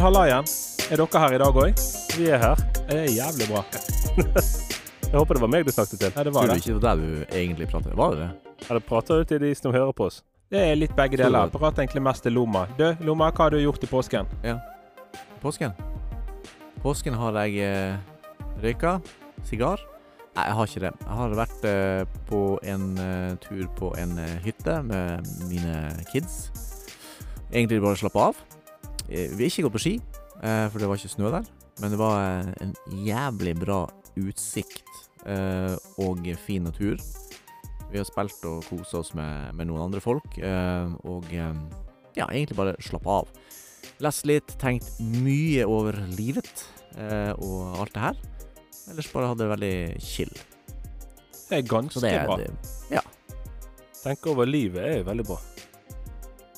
Halla igjen. Er dere her i dag òg? Vi er her. Det er jævlig bra. Jeg håper det var meg du snakket til. Ja, det var Tror du det. ikke det var der du egentlig pratet? Var det det? Eller prater du til de som hører på oss? Det er litt begge Tror du deler. det? Prat egentlig mest til Lomma. Du, Lomma, hva har du gjort i påsken? Påsken? Påsken har jeg eh, røyka sigar. Nei, jeg har ikke det. Jeg har vært eh, på en eh, tur på en eh, hytte med mine kids. Egentlig bare slappe av. Eh, vi har ikke gått på ski, eh, for det var ikke snø der. Men det var eh, en jævlig bra utsikt eh, og fin natur. Vi har spilt og kosa oss med, med noen andre folk, eh, og eh, ja, egentlig bare slappe av. Lest litt, tenkt mye over livet eh, og alt det her. Ellers bare hadde det veldig chill. Det er ganske Så det bra. er det. Tenke over livet er jo veldig bra.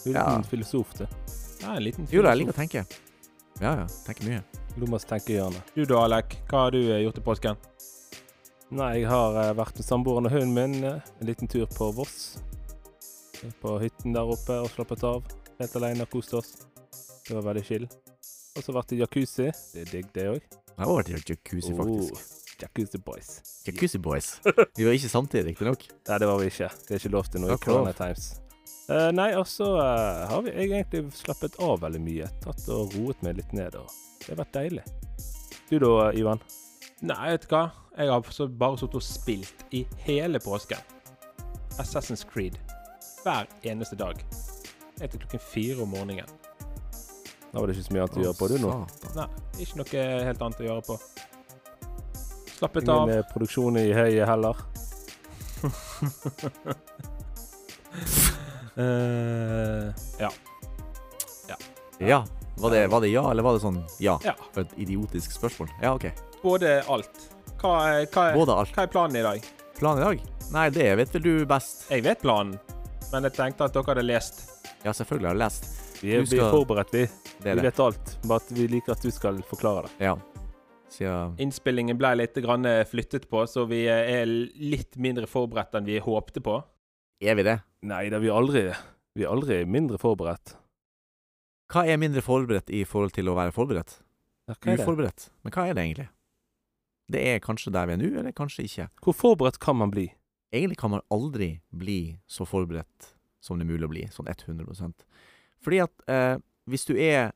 Du er en Ja. liten filosof, du. Det er en liten Jo da, jeg filosof. liker å tenke. Ja, ja. Tenker mye. Lomas tenkehjørne. Du da, Alek. Hva har du eh, gjort i påsken? Nei, jeg har eh, vært med samboeren og hunden min eh, en liten tur på Voss. På hytten der oppe og slappet av. Helt alene og kost oss. Det var veldig chill. Og så vært i jacuzzi. Det er digg, det òg. Jeg har vært i jacuzzi, faktisk. jacuzzi boys. Jacuzzi boys. Vi var ikke samtidig, riktignok. Nei, det var vi ikke. Det er ikke lov til noe i Takk for Corona Times. Eh, nei, og så eh, har vi, jeg egentlig slappet av veldig mye. Tatt og roet meg litt ned. Og det har vært deilig. Du da, Ivan? Nei, vet du hva? Jeg har så bare sittet og spilt i hele påsken. Assassin's Creed. Hver eneste dag. Helt til klokken fire om morgenen. Da var det ikke så mye annet å gjøre på du nå. Satan. Nei, ikke noe helt annet å gjøre på. Slappet av. Ingen eh, produksjon i høyet heller. Eh, ja. Ja. Var det, var det ja, eller var det sånn ja? Ja. For et idiotisk spørsmål. Ja, OK. Både alt. Hva er, hva, er, Både alt. hva er planen i dag? Planen i dag? Nei, det vet vel du best. Jeg vet planen, men jeg tenkte at dere hadde lest. Ja, selvfølgelig har jeg lest. Vi er, Du vi er skal- forberedt, vi. Det Vi er det. vet alt. Bare at vi liker at du skal forklare det. Ja. Siden Innspillingen ble litt grann eh, flyttet på, så vi eh, er litt mindre forberedt enn vi håpte på. Er vi det? Nei, det er vi aldri. Vi er aldri mindre forberedt. Hva er mindre forberedt i forhold til å være forberedt? Ja, hva er det? Uforberedt. Men hva er det egentlig? Det er kanskje der vi er nå, eller kanskje ikke. Hvor forberedt kan man bli? Egentlig kan man aldri bli så forberedt som det er mulig å bli, sånn 100 Fordi at eh, hvis du er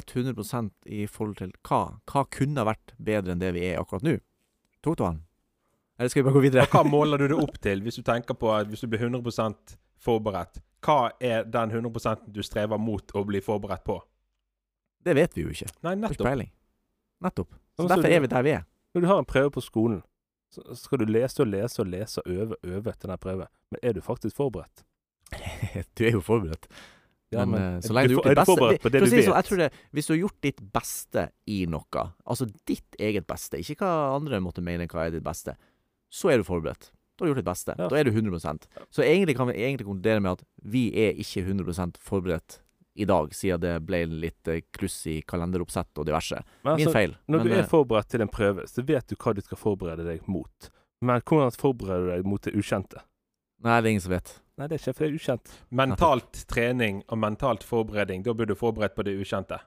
100 i forhold til hva, hva kunne ha vært bedre enn det vi er akkurat nå? Tok du han? Eller skal vi bare gå videre? Og hva måler du det opp til, hvis du tenker på at hvis du blir 100 forberedt? Hva er den 100 du strever mot å bli forberedt på? Det vet vi jo ikke. Nei, Har ikke nettopp. peiling. Nettopp. Så Altså, derfor du- er vi der vi er. Når du har en prøve på skolen, så skal du lese og lese og lese og øve og øve til den prøven. Men er du faktisk forberedt? Du er jo forberedt. men, eh, så lenge er du du, har gjort er du ditt beste forberedt på det for å du si det vet? sånn, jeg tror det, Hvis du har gjort ditt beste i noe, altså ditt eget beste, ikke hva andre måtte mene hva er ditt beste, så er du forberedt. Da har du gjort ditt beste. Ja. Da er du 100 Så egentlig kan vi egentlig konkludere med at vi er ikke 100 forberedt i dag, siden det ble litt eh, kluss i kalenderoppsett og diverse. Men Min altså, feil. når Men, du er eh, forberedt til en prøve, så vet du hva du skal forberede deg mot. Men hvordan forbereder du deg mot det ukjente? nei, det er ingen som vet. Nei, det er ikke for det er ukjent. Mentalt trening og mentalt forberedning, da blir du forberedt på det ukjente.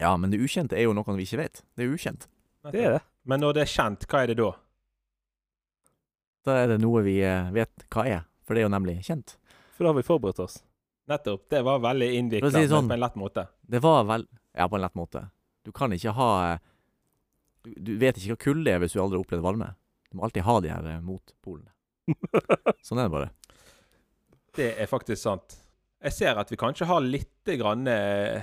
Ja, men det ukjente er jo noe vi ikke vet. Det er ukjent. Det er det. Men når det er kjent, hva er det da? Da er det noe vi eh, vet hva er, for det er jo nemlig kjent. For da har vi forberedt oss. Nettopp. Det var veldig innvikla, For å si det sånn. men på en lett måte. Det var vel Ja, på en lett måte. Du kan ikke ha eh, Du, du vet ikke hva kulde er hvis du aldri har opplevd varme. Du må alltid ha de her eh, motpolene. Sånn er det bare. Det er faktisk sant. Jeg ser at vi kanskje har litt grann eh,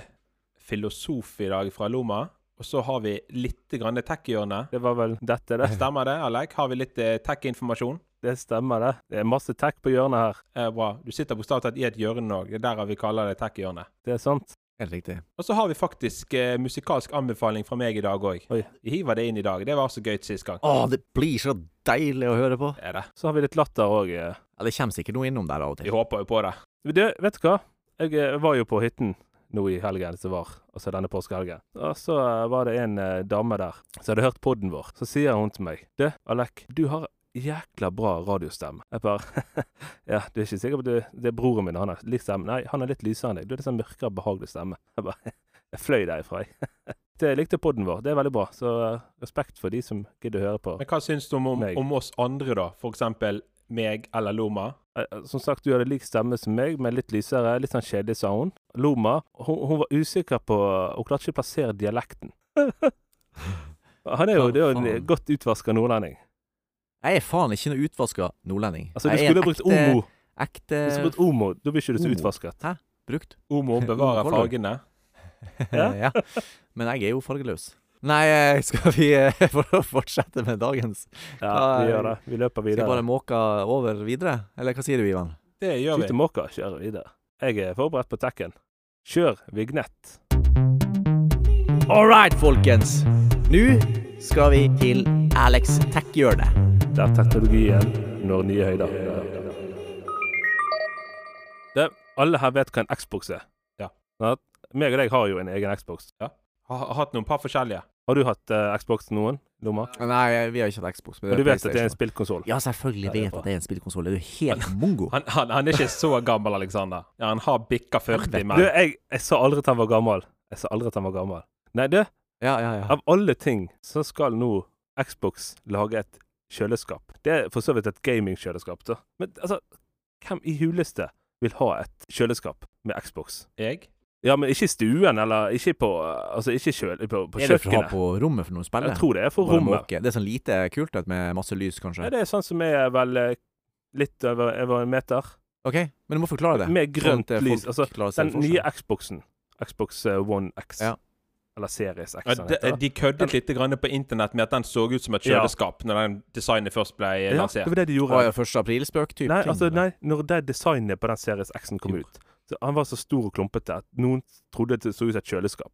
filosof i dag fra Loma, og så har vi litt grann tech-hjørne. Det var vel dette, det. Stemmer det, Alek? Har vi litt eh, tech-informasjon? Det stemmer, det. Det er masse tech på hjørnet her. Eh, bra. Du sitter bokstavelig talt i et hjørne òg. Det er derav vi kaller det tech-hjørne. Det er sant. Helt riktig. Og så har vi faktisk eh, musikalsk anbefaling fra meg i dag òg. Oi. Vi hiver det inn i dag. Det var så gøy sist gang. Å, det blir så deilig å høre på! Det er det. Så har vi litt latter eh, òg. Ja, det kommer sikkert noe innom der av og Vi til. håper jo på det. Du, vet du hva? Jeg eh, var jo på hytten nå i helgen som var, altså denne påskehelgen. Og så eh, var det en eh, dame der som hadde hørt podden vår. Så sier hun til meg Du, Alek, du har jækla bra radiostemme. Jeg bare Ja, du er ikke sikker på det? Det er broren min, han har lik stemme. Nei, han er litt lysere enn deg. Du er litt sånn mørkere, behagelig stemme. Jeg bare Jeg fløy derifra, jeg. Det likte podden vår. Det er veldig bra. Så eh, respekt for de som gidder å høre på. Men hva syns du om, om, Meg. om oss andre, da? For eksempel meg eller Loma? Eh, Som sagt, du hadde lik stemme som meg, men litt lysere. Litt sånn kjedelig, sa hun. Loma, hun, hun var usikker på Hun klarte ikke å plassere dialekten. Han er jo, Hva det er jo faen? en godt utvaska nordlending. Jeg er faen ikke noen utvaska nordlending. Altså, du jeg er en skulle ha brukt ekte- omo. Ekte Du skulle ha brukt omo. Da blir ikke du så Omo. utvasket. brukt. Omo bevarer Ungvoller. fargene. Ja. ja. Men jeg er jo fargeløs. Nei, eh, skal vi eh, for- fortsette med dagens? Ja, Nei. vi gjør det. Vi løper Skal vi bare videre. måke over videre? Eller hva sier du, Ivan? Det gjør Skyte vi. måker, kjører videre. Jeg er forberedt på tekken. Kjør vignett. All right, folkens. Nå skal vi til Alex Tech-hjørnet. Der teknologien når nye høyder. Det, alle her vet hva en Xbox er. Ja. Ja, meg og deg har jo en egen Xbox. Har har hatt noen par forskjellige. Har du hatt eh, Xbox noen, Lomma? Nei, vi har ikke hatt Xbox. Men Men du vet at det er en spillkonsoll? Ja, selvfølgelig Ja, det er vet bra. at det er en spillkonsoll. Er du helt mongo? Han, han, han er ikke så gammel, Alexander. Ja, han har bikka 40, Du, men jeg, jeg sa aldri at han var gammel. Jeg sa aldri at han var gammel. Nei, du, Ja, ja, ja. av alle ting så skal nå Xbox lage et kjøleskap. Det er for så vidt et gamingkjøleskap, da. Men altså, hvem i huleste vil ha et kjøleskap med Xbox? jeg Ja, men ikke i stuen, eller ikke på eh, Altså, ikke kjøl, på, på Er det for å ha kjøkkenet. på rommet for noen spillere? Jeg tror det er for rommet. Det er sånn lite kult ut med masse lys, kanskje. Ja, det er sånn som er vel eh, litt over, over en meter. OK, men du må forklare det. Med grønt Sånn at lys, folk altså, klarer å se Den forskjell. nye Xboxen. Xbox eh, One X. Ja. Eller Series X. Ja, den de, heter, da. de køddet litt grann på internett med at den så ut som et Ja. kjøleskap når den designet først ble eh, Ja, det lansert. var det de gjorde. Å ja, første aprilspøk type Nei, ting, altså, eller? nei, når det designet på den Series X-en kom Jo. ut så Han var så stor og klumpete at noen trodde det så ut som et kjøleskap.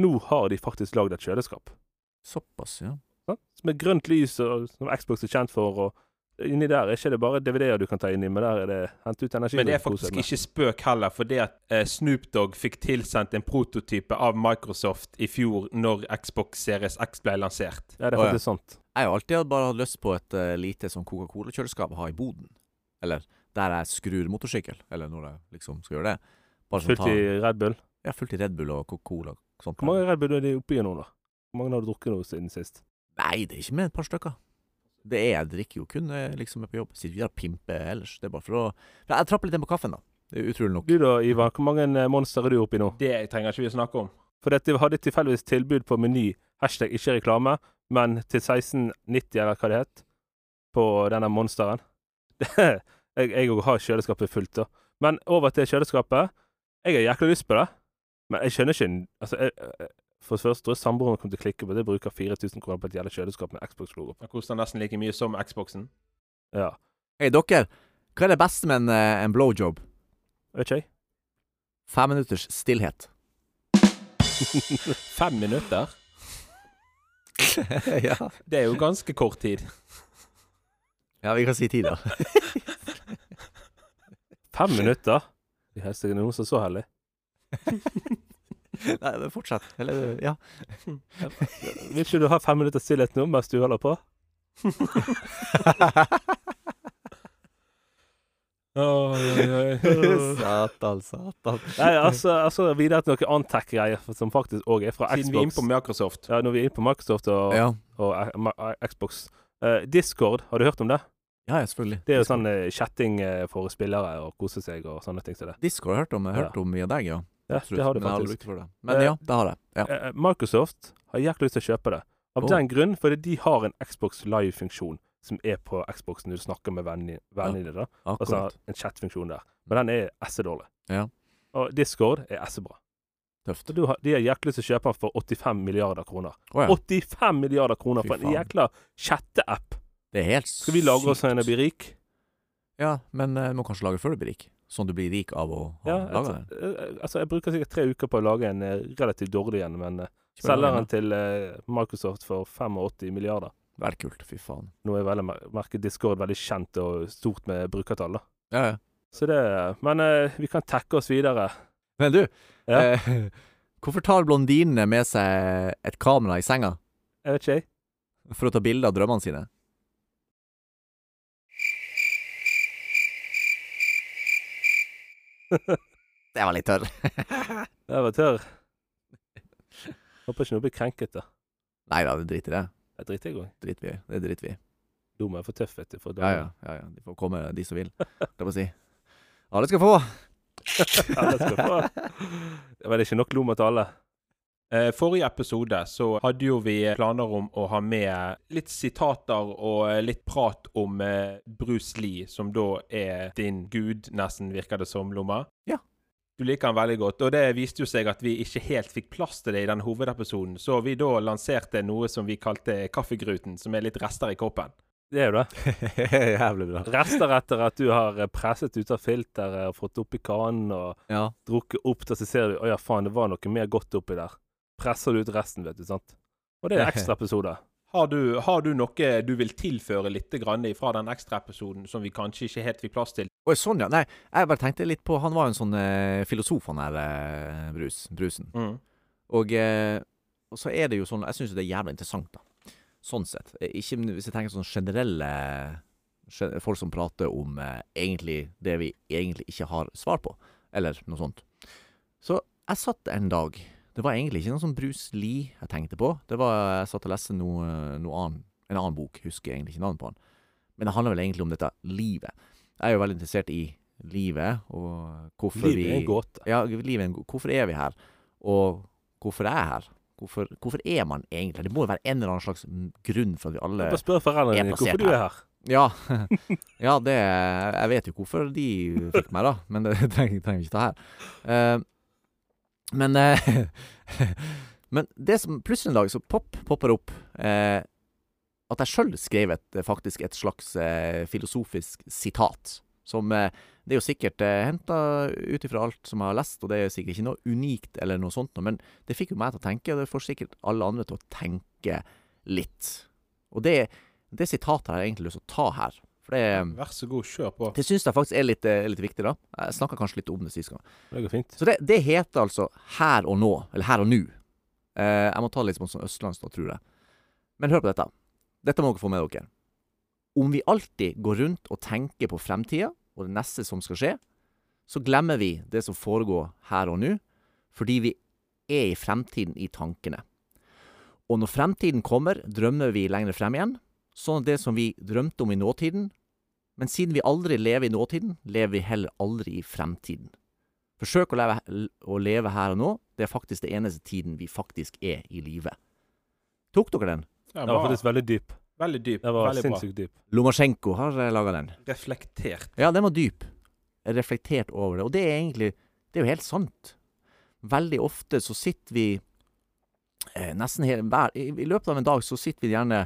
Nå har de faktisk lagd et kjøleskap. Såpass, ja. Sant? Med grønt lys, og, som Xbox er kjent for. og Inni der er ikke det bare DVD-er du kan ta inni, men der er det hent ut energi. Men det er og kose faktisk med. ikke spøk heller, fordi at eh, Snoop Dogg fikk tilsendt en prototype av Microsoft i fjor når Xbox Series X ble lansert. Ja, det er Å, ja. faktisk sant. Jeg har jo alltid hatt- bare hatt lyst på et eh, lite sånn Coca-Cola-kjøleskap å ha i boden. Eller der jeg skrur motorsykkel, eller når jeg liksom skal gjøre det. Bare sånn Fullt ta i Red Bull. Ja, fullt i Red Bull og Coca-Cola sånn og sånt. Hvor mange Red Bull er det oppi nå, da? Hvor mange har du drukket nå siden sist? Nei, det er ikke mer enn et par stykker. Det er, jeg drikker jo kun eh, liksom er på jobb. Sitter videre og pimper ellers. Det er bare for å for Jeg trapper litt ned på kaffen, da. Det er utrolig nok. Du da, Ivar, hvor mange eh, monster er du oppi nå? Det trenger ikke vi snakke om. For dette hadde tilfeldigvis tilbud på Meny, hashtag ikke reklame, men til 1690 eller hva det het, på denne monsteren. Det- Jeg jeg òg har kjøleskapet fullt, da. Men over til kjøleskapet. Jeg har jækla lyst på det, men jeg skjønner ikke altså, jeg, jeg- For det første tror jeg samboeren kommer til å klikke på det, bruker 4000 kroner på et jævla kjøleskap med Xbox-logo. Den koster nesten like mye som Xboxen. Ja. Hei, dere. Hva er det beste med en, eh, en blowjob? Vet ikke jeg. Fem minutters stillhet. Fem minutter? ja. Det er jo ganske kort tid. ja, vi kan si ti, da. Fem minutter? I helsike, er det noen som er så heldig? Nei, men fortsett. Eller, ja. Vil ikke du ha fem minutter stillhet nå mens du holder på? Oi, oi, oi. satan, satan. Nei, altså, altså videre til noe annet tech-greier som faktisk òg er fra Xbox. Siden vi er inne på Microsoft. ja, når vi er inne på Microsoft og, Ja. og eh, Ma- eh, Xbox. Eh, Discord, har du hørt om det? ja, ja, selvfølgelig. Det er jo sånn eh, chatting eh, for spillere og kose seg og sånne ting som det. Discord har jeg hørt om, jeg har hørt om via deg, ja. Ja, Absolutt. det har du Men jeg aldri faktisk. brukt for det. Men Eh, ja, det har jeg. Ja. Eh, eh, Microsoft har jækla lyst til å kjøpe det. Av Oh. den grunn fordi de har en Xbox Live-funksjon som er på Xboxen når du snakker med vennene vennene dine. da. Altså Akkurat. en chat-funksjon der. Men den er essedårlig. Ja. Og Discord er essebra. Tøft. Så du har, de har jækla lyst til å kjøpe den for 85 milliarder kroner. Å ja. 85 milliarder kroner Fy for en faen. jækla chatteapp! Det er helt Skal vi lage oss sykt. en og bli rik? Ja, men eh, du må kanskje lage før du blir rik. Sånn du blir rik av å ha Ja, lage altså, det. eh, altså, jeg bruker sikkert tre uker på å lage en eh, relativt dårlig en, men eh, Ikke bare selger den lage det. til eh, Microsoft for 85 milliarder. Det er kult. Fy faen. Nå er veldig, mer- merket Discord veldig kjent og stort med brukertall, da. Ja, ja. Så det Men eh, vi kan tekke oss videre. Men du, Ja. eh, hvorfor tar blondinene med seg et kamera i senga Jeg vet ikke, jeg. for å ta bilde av drømmene sine? Det var litt tørr. Jeg var tørr. Håper ikke noen blir krenket, da. Nei da, det driter i det. Det driter jeg òg. Driter vi. i. Det driter vi. i. Dum er for tøff, vet du. For Ja, ja, ja, ja. De får komme, de som vil. Det må jeg si. Alle skal få. Alle skal få. Men det er ikke nok lom til alle. Eh, Forrige episode så hadde jo vi planer om å ha med litt sitater og eh, litt prat om eh, Bruce Lee, som da er din gud, nesten virker det som, Lomma. Ja. Du liker han veldig godt, og det viste jo seg at vi ikke helt fikk plass til det i den hovedepisoden, så vi da lanserte noe som vi kalte kaffegruten, som er litt rester i koppen. Det er jo det. Jævlig bra. Rester etter at du har eh, presset ut av filteret og fått oppi kanen og Ja. drukket opp til, så ser du Å ja, faen, det var noe mer godt oppi der. Presser du ut resten, vet du, sant. Og det er ekstra episode. Har du, har du noe du vil tilføre litt grann fra den ekstraepisoden som vi kanskje ikke helt fikk plass til? Oi, sånn, ja. Nei, jeg bare tenkte litt på Han var jo en sånn eh, filosof, han her eh, Brus, Brusen. Mm. Og, eh, og så er det jo sånn Jeg syns jo det er jævla interessant, da. Sånn sett. Eh, Ikke men hvis jeg tenker sånn generelle gen- Folk som prater om eh, egentlig det vi egentlig ikke har svar på, eller noe sånt. Så jeg satt en dag Det var egentlig ikke noe sånn Bruce Lee jeg tenkte på. Det var Jeg satt og leste noe, noe annen, en annen bok, husker jeg egentlig ikke navnet på den. Men det handler vel egentlig om dette livet. Jeg er jo veldig interessert i livet, og hvorfor Livet er vi en gåte. ja, livet, er en go- hvorfor er vi her? Og hvorfor er jeg her? Hvorfor, hvorfor er man egentlig her? Det må jo være en eller annen slags mm, grunn for at vi alle Bare spør foreldrene Jeg er dine plassert hvorfor du er her. Ja, ja det Jeg vet jo hvorfor de fikk meg, da, men det trenger trenger vi ikke ta her. Eh, men eh, Men det som plutselig en dag så pop, popper opp eh, At jeg sjøl skrev et, faktisk et slags eh, filosofisk sitat. Som eh, Det er jo sikkert eh, henta ut ifra alt som jeg har lest, og det er sikkert ikke noe unikt eller noe sånt, noe, men det fikk jo meg til å tenke, og det får sikkert alle andre til å tenke litt. Og det, det sitatet har jeg egentlig lyst til å ta her. For det, Vær så god, kjør på. det syns jeg faktisk er litt, eh, litt viktig, da. Jeg snakka kanskje litt om det sist gang. Det går fint. Så det, det heter altså Her og nå, eller Her og nu. Eh, jeg må ta det litt sånn som østlandsk, da, tror jeg. Men hør på dette. Dette må dere få med dere. Om vi alltid går rundt og tenker på fremtida og det neste som skal skje, så glemmer vi det som foregår her og nå, fordi vi er i fremtiden i tankene. Og når fremtiden kommer, drømmer vi lenger frem igjen, sånn at det som vi drømte om i nåtiden Men siden vi aldri lever i nåtiden, lever vi heller aldri i fremtiden. Forsøk å leve, å leve her og nå. Det er faktisk det eneste tiden vi faktisk er i live. Tok dere den? Den Den var var faktisk veldig dyp. veldig dyp. Den var Veldig bra. sinnssykt dyp. Lomasjenko har laga den. Reflektert. Ja, den var dyp. Jeg Reflektert over det. Og det er egentlig Det er jo helt sant. Veldig ofte så sitter vi eh, nesten hele hver i, I løpet av en dag så sitter vi gjerne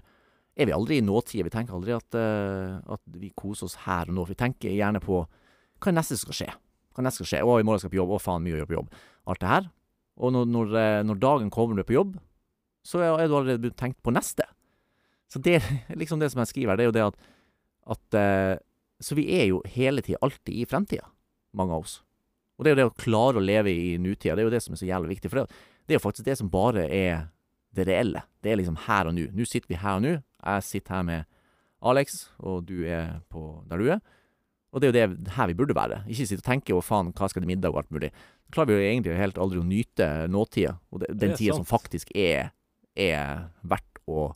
Er vi aldri i nåtida. Vi tenker aldri at, eh, at vi koser oss her og nå. Vi tenker gjerne på hva er det neste som skal skje. Hva er det neste som skal skje? Å, i morgen skal jeg på jobb. Å, faen, mye å gjøre på jobb. Alt det her. Og når, når, eh, når dagen kommer du er på jobb, så er er du allerede begynt å tenke på neste. Så det er liksom det som jeg skriver, her, det er jo det at, at eh, så vi er jo hele tida alltid i fremtida, mange av oss. Og det er jo det å klare å leve i nutida, det er jo det som er så jævlig viktig. For det, det er jo faktisk det som bare er det reelle. Det er liksom her og nå. Nå sitter vi her og nå. Jeg sitter her med Alex, og du er på der du er. Og det er jo det her vi burde være. Ikke sitte og tenke 'å faen, hva skal til middag' og alt mulig. Da klarer vi jo egentlig helt aldri å nyte nåtida, og det, Det den er tida som sant. faktisk er, er verdt å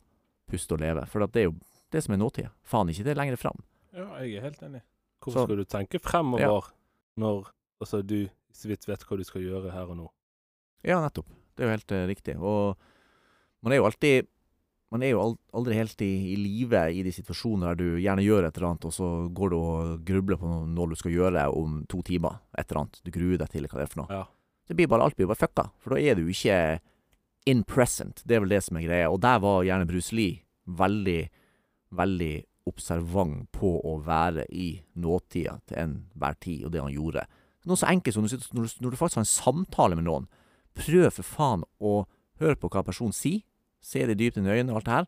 puste og leve. For at det er jo det som er nåtida. Faen, ikke det lenger fram. Ja, jeg er helt enig. Hvorfor Så- skal du tenke fremover når altså, du så vidt vet hva du skal gjøre her og nå? Ja, nettopp. Det er jo helt eh, riktig. Og man er jo alltid Man er jo al- aldri helt i, i live i de situasjoner der du gjerne gjør et eller annet, og så går du og grubler på noe- når du skal gjøre det om to timer. Et eller annet. Du gruer deg til hva det er for noe. Ja. Det blir bare, alt blir bare fucka. For da er du ikke in present. Det er vel det som er greia. Og der var gjerne Bruce Lee veldig, veldig observant på å være i nåtida til enhver tid, og det han gjorde. Noe så enkelt som når du sitter- når du, når du faktisk har en samtale med noen. Prøv for faen å høre på hva personen sier, se det dypt inn i øynene og alt det her,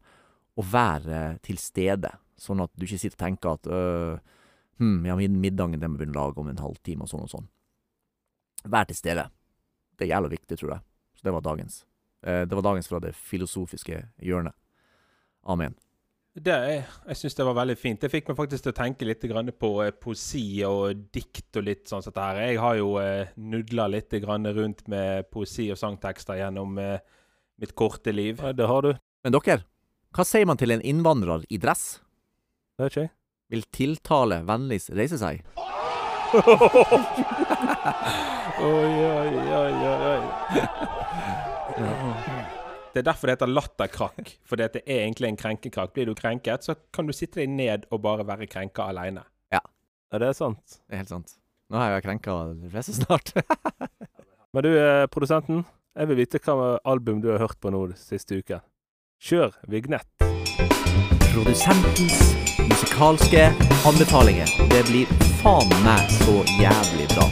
og være til stede, sånn at du ikke sitter og tenker at øh, hm, ja, min- middagen den må begynne å lage om en halvtime, og sånn og sånn. Vær til stede. Det er jævla viktig, tror jeg. Så det var dagens. Eh, det var dagens fra det filosofiske hjørnet. Amen. Det er, jeg syns det var veldig fint. Det fikk meg faktisk til å tenke litt grann på eh, poesi og dikt og litt sånn som dette her. Jeg har jo eh, nudla litt grann rundt med poesi og sangtekster gjennom eh, mitt korte liv. Nei, det har du. Men dere, hva sier man til en innvandrer i dress? Det er ikke jeg. Vil tiltale vennligst reise seg? Oi, oi, oi, oi, oi. Det er derfor det heter latterkrakk. For det er egentlig en krenkekrakk. Blir du krenket, så kan du sitte deg ned og bare være krenka alene. Ja, det er sant. Det er helt sant. Nå har jeg jo krenka de fleste snart. Men du, eh, produsenten. Jeg vil vite hva album du har hørt på nå siste uke. Kjør vignett. Produsentens musikalske anbefalinger. Det blir faen meg så jævlig bra.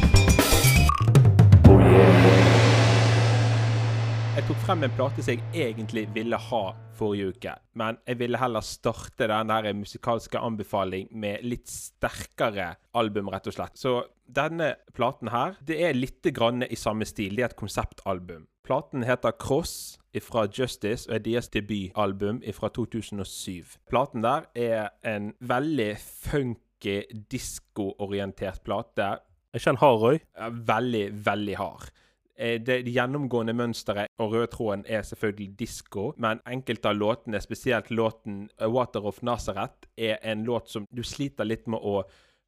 Jeg tok frem en plate som jeg egentlig ville ha forrige uke. Men jeg ville heller starte den der musikalske anbefaling med litt sterkere album, rett og slett. Så denne platen her, det er litt grann i samme stil. Det er et konseptalbum. Platen heter Cross fra Justice og er deres debutalbum fra 2007. Platen der er en veldig funky, disko-orientert plate Er ikke han hard, Roy? er veldig, veldig hard. Eh, Det gjennomgående mønsteret og rød tråden er selvfølgelig disko, men enkelte av låtene, spesielt låten eh, 'Water of Nazareth', er en låt som du sliter litt med å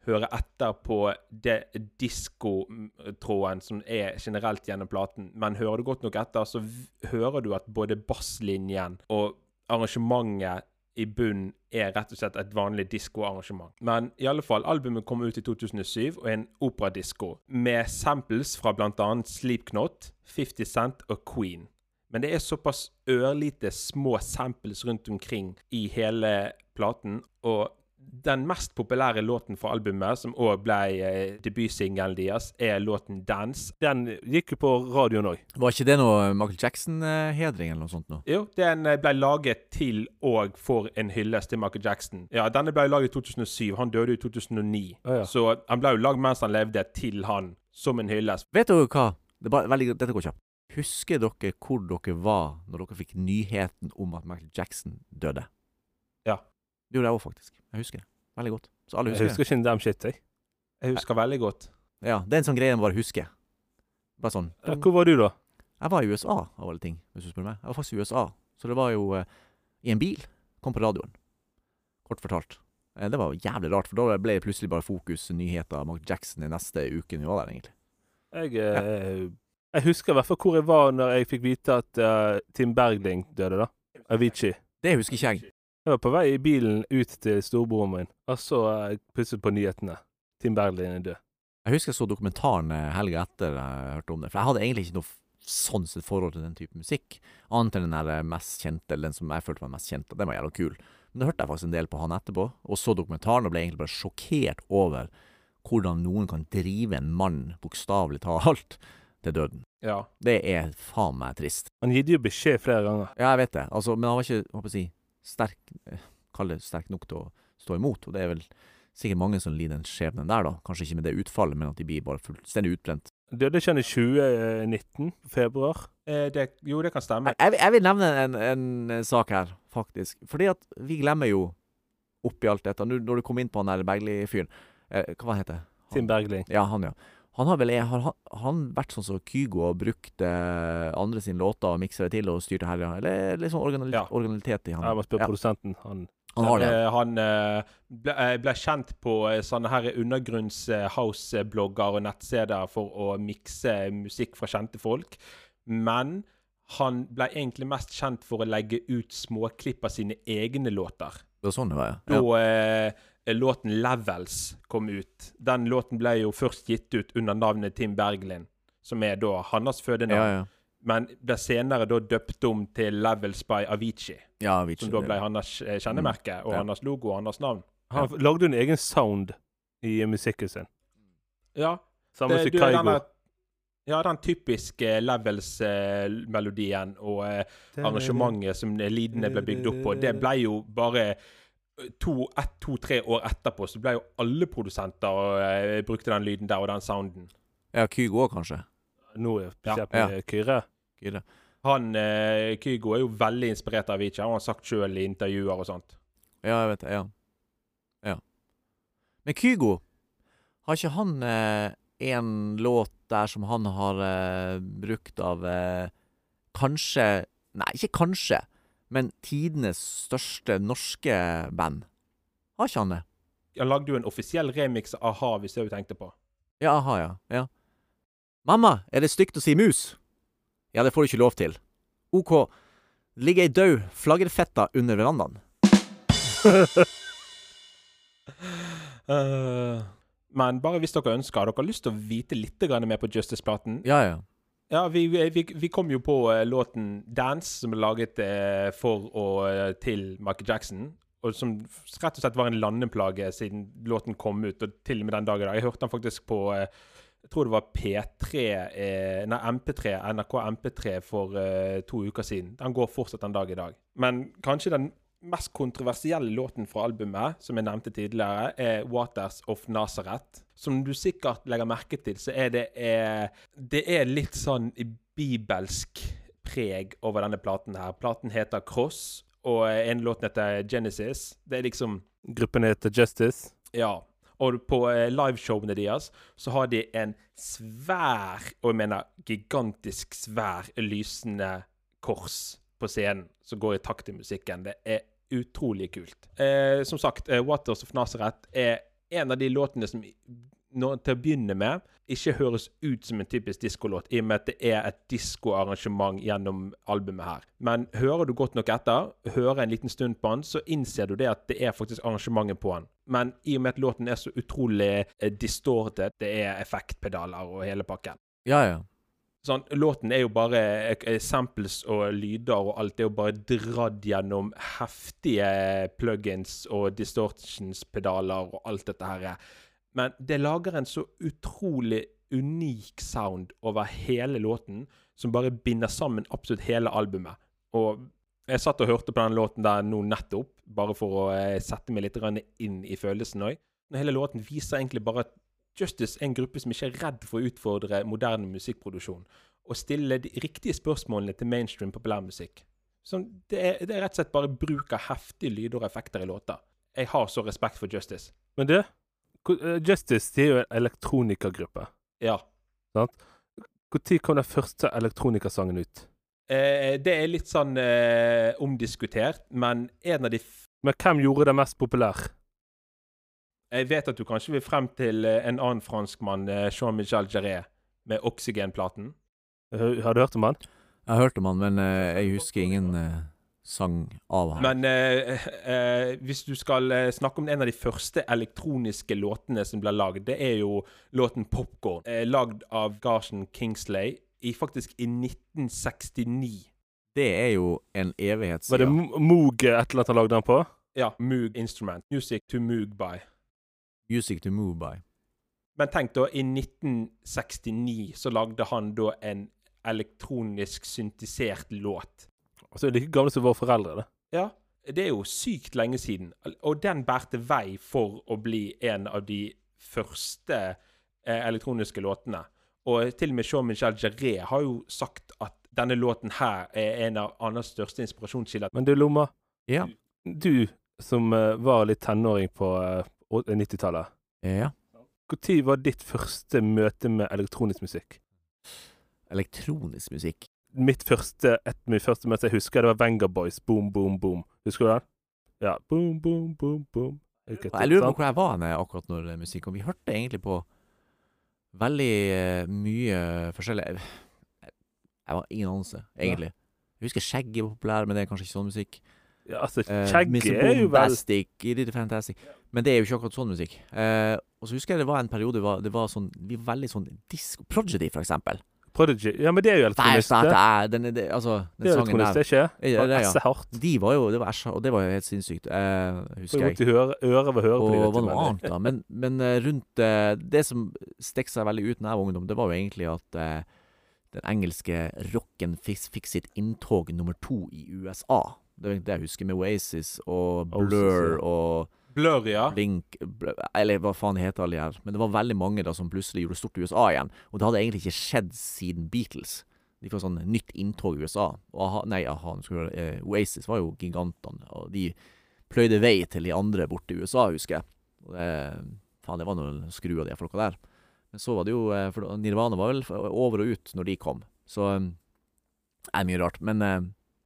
høre etter på det diskotråden som er generelt gjennom platen. Men hører du godt nok etter, så v- hører du at både basslinjen og arrangementet i bunnen er rett og slett et vanlig diskoarrangement. Men i alle fall, albumet kom ut i 2007 og er en operadisko med samples fra bl.a. Sleepknot, 50 Cent og Queen. Men det er såpass ørlite små samples rundt omkring i hele platen, og den mest populære låten fra albumet, som òg ble eh, debutsingelen deres, er låten 'Dance'. Den gikk jo på radioen òg. Var ikke det noe Michael Jackson-hedring eller noe sånt nå? Jo, den eh, ble laget til og for en hyllest til Michael Jackson. Ja, denne ble laget i 2007. Han døde i 2009. Å ja. Så eh, han ble jo lagd mens han levde, til han som en hyllest. Vet dere hva? Det er bare, veldig, dette går kjapt. Husker dere hvor dere var når dere fikk nyheten om at Michael Jackson døde? Ja. Det gjorde jeg òg, faktisk. Jeg husker det. Veldig godt. Så alle Jeg husker, husker ikke en damn shit, jeg. Jeg husker veldig godt. det. Ja, Det er en sånn greie man bare husker. Bare sånn. Ja, Hvor var du, da? Jeg var i USA, av alle ting, hvis du spør meg. Jeg var faktisk i USA. Så det var jo eh, i en bil. Kom på radioen. Kort fortalt. Eh, det var jævlig rart, for da ble det plutselig bare fokus nyheter av Mark Jackson i neste uke vi var der, egentlig. Jeg, eh, jeg husker i hvert fall hvor jeg var når jeg fikk vite at eh, Tim Bergling døde, da. Avicii. Det husker ikke jeg. Jeg var på vei i bilen ut til storebroren min, og så eh, plutselig på nyhetene. Tim Bergling er død. Jeg husker jeg så dokumentaren eh, helga etter jeg hørte om det, for jeg hadde egentlig ikke noe f- sånn sett forhold til den type musikk, annet enn den der eh, mest kjente, eller den som jeg følte var mest kjent, og den var jævla kul. Men da hørte jeg faktisk en del på han etterpå, og så dokumentaren og ble egentlig bare sjokkert over hvordan noen kan drive en mann, bokstavelig talt, til døden. Ja. Det er faen meg trist. Han gitt jo beskjed flere ganger. Ja, jeg vet det. Altså, men han var ikke hva skal jeg si, sterk eh, Kall det sterk nok til å stå imot. Og det er vel sikkert mange som lider den skjebnen der, da. Kanskje ikke med det utfallet, men at de blir bare fullstendig utbrent. Døde ikke han i 2019? Februar? Eh, det, jo, det kan stemme. Jeg, jeg vil- jeg vil nevne en, en, en sak her, faktisk. Fordi at vi glemmer jo oppi alt dette Nå- Når du kom inn på han der Bergli-fyren eh, Hva var han heter Tim Bergling. Ja, han, ja. Han har vel e, har han, han vært sånn som Kygo og brukt eh, andre sine låter og miksa det til og styrt det her, ja? Eller litt sånn organal Ja. originalitet i han? Jeg må Ja. spørre produsenten. Han Han har det. Eh, han eh, ble, eh, ble kjent på eh, sånne her undergrunns eh, house-blogger og nettsteder for å mikse musikk fra kjente folk. Men han ble egentlig mest kjent for å legge ut småklipp av sine egne låter. Det var sånn det var, ja. da eh, låten 'Levels' kom ut. Den låten ble jo først gitt ut under navnet Tim Berglin, som er da hans fødenavn, Ja, ja. men ble senere da døpt om til 'Levels by Avicii', ja vi som da ble hans eh, kjennemerke og Ja. hans logo og hans navn. Han lagde jo en egen sound i musikken sin. Ja, Sammen det, med du, den Kygo. der- ja, den typiske Levels-melodien og eh, arrangementet som lidene ble bygd opp på, det ble jo bare eh, to, ett, to, tre år etterpå, så ble jo alle produsenter og eh, brukte den lyden der og den sounden. Ja, Kygo òg, kanskje. Nå er Ja, jeg med Kyrre. Kyrre. Han, eh, Kygo er jo veldig inspirert av Avicii, har han sagt sjøl i intervjuer og sånt. Ja, jeg vet det. Ja. ja. Men Kygo, har ikke han eh, en låt der som han har eh, brukt av eh, Kanskje Nei, ikke kanskje, men tidenes største norske band. Har ikke han det? Han lagde jo en offisiell remix av A-ha, hvis det er det du tenkte på. Ja, aha, ja. ja. Mamma, er det stygt å si mus? Ja, det får du ikke lov til. OK, det ligger ei død flaggerfetta under verandaen. Eh, men bare hvis dere ønsker, har dere lyst til å vite litt grann mer på Justice-platen? Ja, ja. Ja, vi, vi, vi kom jo på eh, låten 'Dance', som er laget eh, for og eh, til Michael Jackson. Og som f- rett og slett var en landeplage siden låten kom ut, og til og med den dag i dag. Jeg hørte den faktisk på eh, jeg tror det var P3 eh, Nei, MP3, NRK MP3 for eh, to uker siden. Den går fortsatt den dag i dag. Men kanskje den mest kontroversielle låten fra albumet, som jeg nevnte tidligere, er 'Waters of Nazareth'. Som du sikkert legger merke til, så er det eh, det er litt sånn bibelsk preg over denne platen her. Platen heter Cross, og eh, en låt heter Genesis. Det er liksom Gruppen heter Justice. Ja. Og på eh, liveshowene deres så har de en svær, og jeg mener gigantisk svær, lysende kors på scenen som går i takt til musikken. Det er utrolig kult. Eh, som sagt, eh, 'Waters of Nazareth' er en av de låtene som i- nå, til å begynne med ikke høres ut som en typisk diskolåt, i og med at det er et diskoarrangement gjennom albumet her. Men hører du godt nok etter, hører en liten stund på den, så innser du det at det er faktisk arrangementet på den. Men i og med at låten er så utrolig eh, distorted, det er effektpedaler og hele pakken. Ja, ja. Sånn, låten er jo bare eh, samples og lyder og alt. Det er jo bare dratt gjennom heftige plugins og distortions-pedaler og alt dette her. Men det lager en så utrolig unik sound over hele låten, som bare binder sammen absolutt hele albumet. Og jeg satt og hørte på den låten der nå nettopp, bare for å eh, sette meg litt grann inn i følelsen òg. Hele låten viser egentlig bare at Justice er en gruppe som ikke er redd for å utfordre moderne musikkproduksjon, og stille de riktige spørsmålene til mainstream populærmusikk. Som det, er, det er rett og slett bare bruk av heftige lyder og effekter i låter. Jeg har så respekt for Justice. Men du, hvor- eh, Justice de er jo en elektronikagruppe. Ja. Når kom den første elektronikasangen ut? Eh, det er litt sånn eh, omdiskutert, men en av de f Men hvem gjorde den mest populær? Jeg vet at du kanskje vil frem til eh, en annen franskmann, eh, Jean-Michel Jarret, med Oksygen-platen. Hø- Har du hørt om han? Jeg hørte om han, men eh, jeg husker ingen eh, sang av han. Men eh, eh, hvis du skal eh, snakke om en av de første elektroniske låtene som ble lagd, det er jo låten 'Popcorn', eh, lagd av Garson Kingsley i, faktisk i 1969. det er jo en Var det evighetssida. Mo- Moog eh, et eller annet han lagde den på? Ja, Moog Instrument. Music to Moog by. Music to move by. Men tenk da, i 1969 så lagde han da en elektronisk syntisert låt. Altså, like gamle som våre foreldre, det. Ja, det er jo sykt lenge siden. Og den bærte vei for å bli en av de første eh, elektroniske låtene. Og til og med Jean-Michel Jarret har jo sagt at denne låten her er en av Anders største inspirasjonskilder. Men du, Lomma, Ja. du som eh, var litt tenåring på eh, å- 90-tallet. ja. Når var ditt første møte med elektronisk musikk? Elektronisk musikk. Mitt første, et, mitt første møte jeg husker, det var Venga Boys. Boom, boom, boom. Husker du den? Ja. Boom, boom, boom, boom. Er det ikke et Jeg lurer sant? på hvor jeg var henne akkurat når det er musikk kom. Vi hørte egentlig på veldig eh, mye forskjellig Jeg jeg har ingen anelse, egentlig. Jeg husker Skjegg er populær, men det er kanskje ikke sånn musikk. Ja, altså, Eh, Kjegg Mr. er jo vel Bombastic, It is Fantastic. Men det er jo ikke akkurat sånn musikk. Eh, og så husker jeg det var en periode det var, det var sånn, vi var veldig sånn disco Prodigy, for eksempel. Prodigy. Ja, men det er jo Der elektronisk. startet det. jeg den, det- altså, Det den er sangen elektronisk, der. det er ikke? Ja, det er, ja. Esse hardt. De var jo Det var æsja, og det var jo helt sinnssykt, eh, Får husker jo jeg. vondt i høret øre ved høre på Og de, vet var du, noe men- annet, da. Men, men eh, rundt eh, Det som stakk seg veldig ut da jeg var ungdom, det var jo egentlig at eh, den engelske rocken fis- fikk sitt inntog nummer to i USA. Det er egentlig det jeg husker med Oasis og Blur Oasis, og Blur, ja. Blink Blur, Eller hva faen heter alle de her. Men det var veldig mange da som plutselig gjorde stort i USA igjen. Og det hadde egentlig ikke skjedd siden Beatles. De fikk sånn nytt inntog i USA. Og aha, nei, aha, nå skal vi høre, eh, Oasis var jo gigantene, og de pløyde vei til de andre borte i USA, husker jeg. Og det, faen, det var noen skru av de folka der. Men så var det jo eh, For da- Nirvana var vel f- over og ut når de kom. Så eh, det er mye rart. Men eh,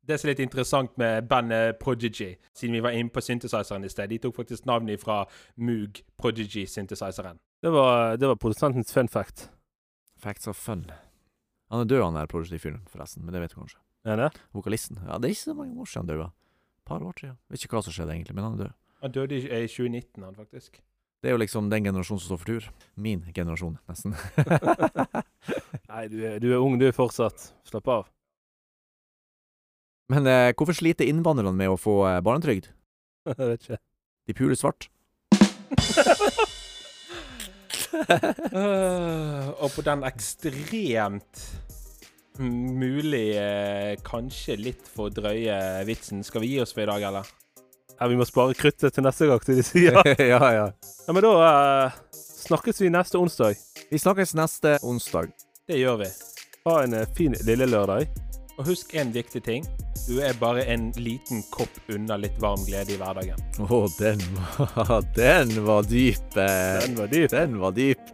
Det som er litt interessant med bandet Prodigy, siden vi var inne på synthesizeren i sted, de tok faktisk navnet fra Moog Prodigy-synthesizeren. Det var, det var produsentens fun fact. Facts of fun. Han er død, han der produsentfyren, forresten, men det vet du kanskje. Er det? Vokalisten. Ja, det er ikke så mange år siden han døde. Et par år siden. Vet ikke hva som skjedde, egentlig, men han er død. Han døde i eh, 2019, han faktisk. Det er jo liksom den generasjonen som står for tur. Min generasjon, nesten. Nei, du er, du er ung, du er fortsatt. Slapp av. Men eh, hvorfor sliter innvandrerne med å få eh, barnetrygd? Jeg vet ikke. De puler svart. Øh, og på den ekstremt mulig, eh, kanskje litt for drøye vitsen. Skal vi gi oss for i dag, eller? Ja, vi må spare kruttet til neste gang, til de sier. ja, ja. Ja, men da eh, snakkes vi neste onsdag. Vi snakkes neste onsdag. Det gjør vi. Ha en eh, fin lille lørdag. Og husk en viktig ting. Du er bare en liten kopp unna litt varm glede i hverdagen. Å, den var Den var dyp. eh. Den var dyp. Den var dyp.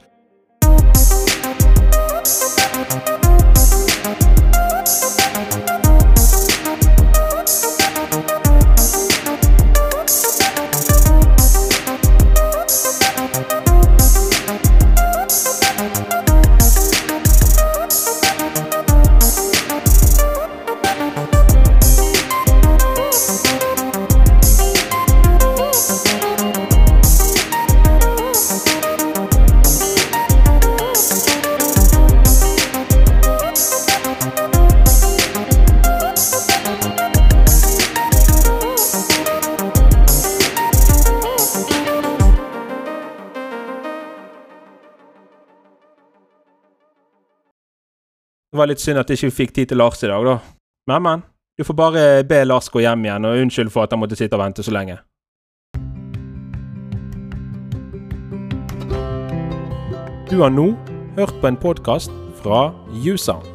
Det var litt synd at ikke vi fikk tid til Lars i dag, da. Men, men. Du får bare be Lars gå hjem igjen, og unnskyld for at han måtte sitte og vente så lenge. Du har nå hørt på en podkast fra Jusound.